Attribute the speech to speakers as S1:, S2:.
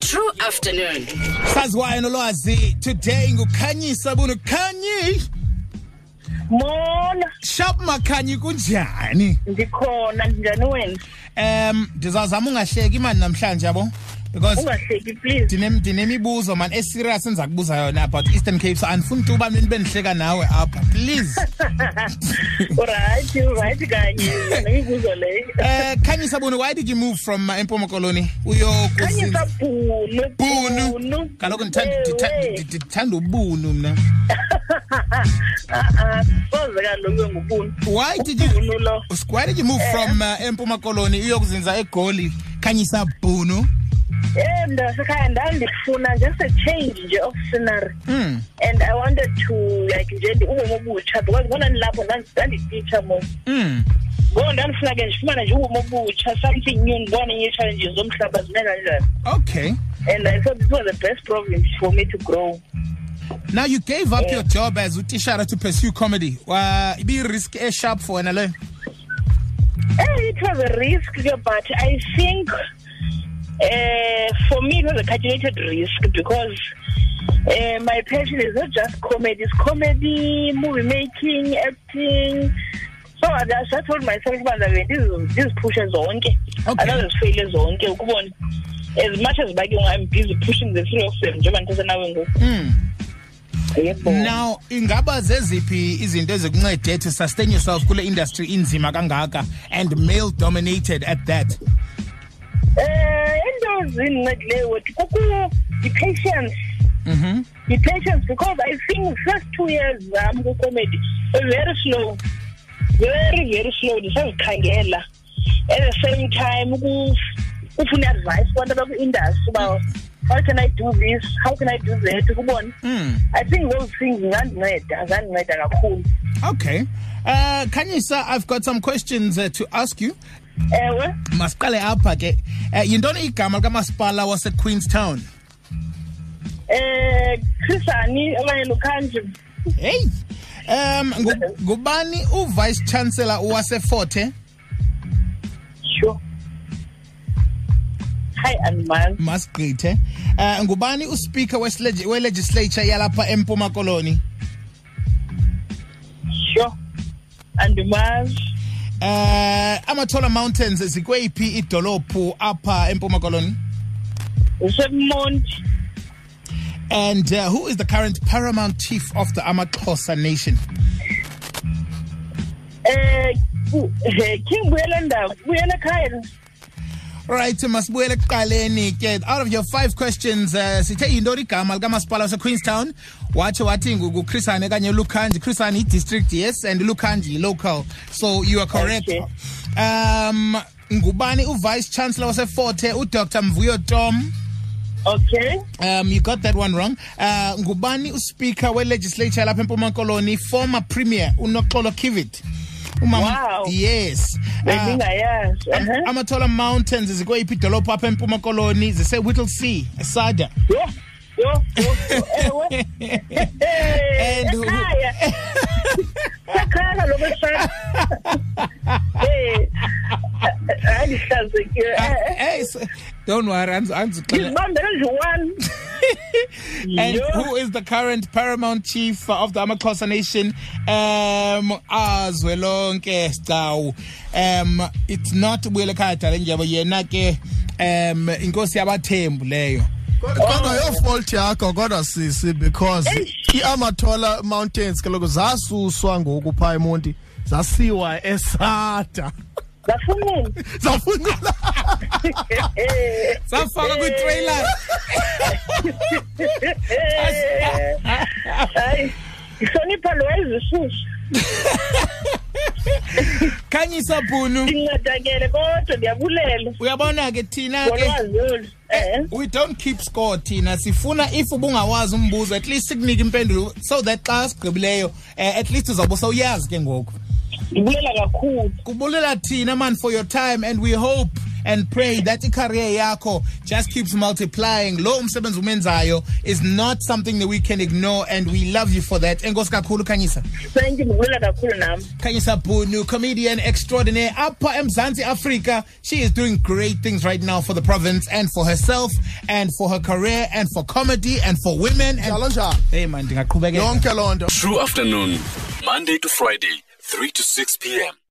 S1: true afternoon.
S2: saziwayo nolwazi today ngukhanyisa bunokhanyi
S3: Mona
S2: sharp makhanyi kunjani
S3: ndikhona njani wena?
S2: um ndizawuzama ungahleki imani namhlanje yabo because
S3: Ungahleki please.
S2: ndine- ndinemibuzo man eserious endiza kubuza yona about eastern cape so andifuni into uba nibe ndihleka nawe apha please
S3: Alright, right kanye. Ngibuzo leyo.
S2: um khanyisa bunu why did you move from uh, empuma koloni
S3: Kanye
S2: uyo
S3: sabhunu.
S2: bunu kaloku ndithanda- ndithanda-
S3: Ewe.
S2: ndithanda ubunu mna
S3: Ah ah, soze kaloku ngubunu.
S2: why did you
S3: Ubunu lo.
S2: why did you move from uh, empuma koloni uyokuzinza egoli khanyisa bunu
S3: Eh ndasekhaya ndandifuna just a change nje of scenery.
S2: mm.
S3: And I wanted to like nje ndi- ubomi obutsha because ngona nilapho ndandi- ndandititsha mo.
S2: Mm.
S3: Ngoko ndandifuna ke ndifumane nje ubomi obutsha something new ndibone new challenges zomhlaba zime kanjani.
S2: okay
S3: And I thought this was the best province for me to grow.
S2: now you gave up
S3: Yeah.
S2: your job as utishara to pursue comedy wa ibirisk esharp for wena leyo
S3: Eh, it was a risk, yeah, but I think uh, for me it was a calculated risk because uh, my passion is not just comedy, it's comedy, movie making, acting. So I just I told myself, man, I mean, this, this pushes on. I know this failures on. As much as back, I'm busy pushing the three of them. njengoba ndisanawe ngoku.
S2: mm.
S3: Yebo.
S2: now ingaba zeziphi izinto ezikuncede to sustain yourself kule industry inzima kangaka and male dominated at that
S3: Eh, into ezindincedileyo wethu kuku yi-patience
S2: mm-hmm.
S3: yi-patience because i think first two years zam kwicomedy were very slow very very slow ndisazikhangela at the same time uku- ufuna i-advice kubantu abakwi-industry uba how can i do this how can i do that kubona
S2: mm.
S3: i think those things zingandinceda zandinceda kakhulu
S2: okay uh, khanyisa i've got some questions uh, to ask you
S3: ewe
S2: masiqale apha ke uh, yintoni igama likamasipala wasequeenstown
S3: um chrisani okanye lukhandle
S2: hey um ngu- ngubani uvice chancellor waseforte
S3: sure hayi andimazi
S2: masigqithe um ngubani uspeaker wesleg- welegislature yalapha empuma koloni
S3: Sure. Andimazi.
S2: um amatola mountains zikweyiphi idolophu apha empuma koloni
S3: Usemonti.
S2: and uh, who is the current paramount chief of the amaxhosa nation
S3: Eh u- eh, King Buyela ndawo. Buyela ekhaya.
S2: right masibuyele ekuqaleni ke out of your five questions uh, sithe yintoni igama likamasipala wasequeenstown wathi wathi ngukhrisane kanye lukhanji khrisane yi-district yes and lukhanji yi-local so you are correct
S3: Okay.
S2: um ngubani uvice chancellor waseforte udr mvuyo tom
S3: Okay.
S2: um you got that one wrong uh ngubani uspeaker welegislature lapha empuma koloni former premier unoxolo kivit
S3: Wow.
S2: yes Uh,
S3: Bendingayazi. Uh-huh.
S2: amatola mountains zikweyiphi idolophu apha empuma koloni zisewhittle sea esada
S3: Yo. Yo. yo, yo, Ewe. Eh,
S2: And who-
S3: Ekhaya. Ekhaya kaloku esana. Eh. Hayi ndihlazekile.
S2: Ah,
S3: Eh, eh.
S2: eh, so- don't worry andiz- andizixelela.
S3: Ngizibambele nje one.
S2: and
S3: Yo.
S2: who is the current paramount chief of the amaxhosa nation um azwe lonke sicawu um it's not buyelekhaya dale njebo yena ke um inkosi yabathembu leyo
S4: kodwa yo fault yakho kodwa sisi because iamatola mountains kaloku zasuswa ngoku phaa emonti zasiwa esata
S3: Ngafunini.
S4: zafunela
S3: Eh, eh.
S2: safaka kwitrailer
S3: Eh, Hayi. Ihlonipha lo wayezisusa.
S2: khanyisa bhunu
S3: ndincedakele kodwa ndiyabulela
S2: uyabona ke thina ke
S3: ngolwazi olu Eh,
S2: we don't keep score thina sifuna if ubungawazi umbuzo at least sikunike impendulo so that xa sigqibileyo eh, at least uzawube sewuyazi ke ngoku
S3: ndibulela kakhulu
S2: kubulela thina man for your time and we hope and pray that i-career yakho just keeps multiplying lo umsebenzi umenzayo is not something that we can ignore and we love you for that enkosi kakhulu khanyisa
S3: thank you ndibulela kakhulu nam
S2: Kanyisa Bunu, comedian extraordinaire, Upper Mzansi Africa. She is doing great things right now for the province and for herself and for her career and for comedy and for women.
S4: njalo
S2: And
S4: njalo
S2: hey man, ndingaqhubekeka.
S4: yonke loo nto
S1: True afternoon, Monday to Friday, 3 to 6 p.m.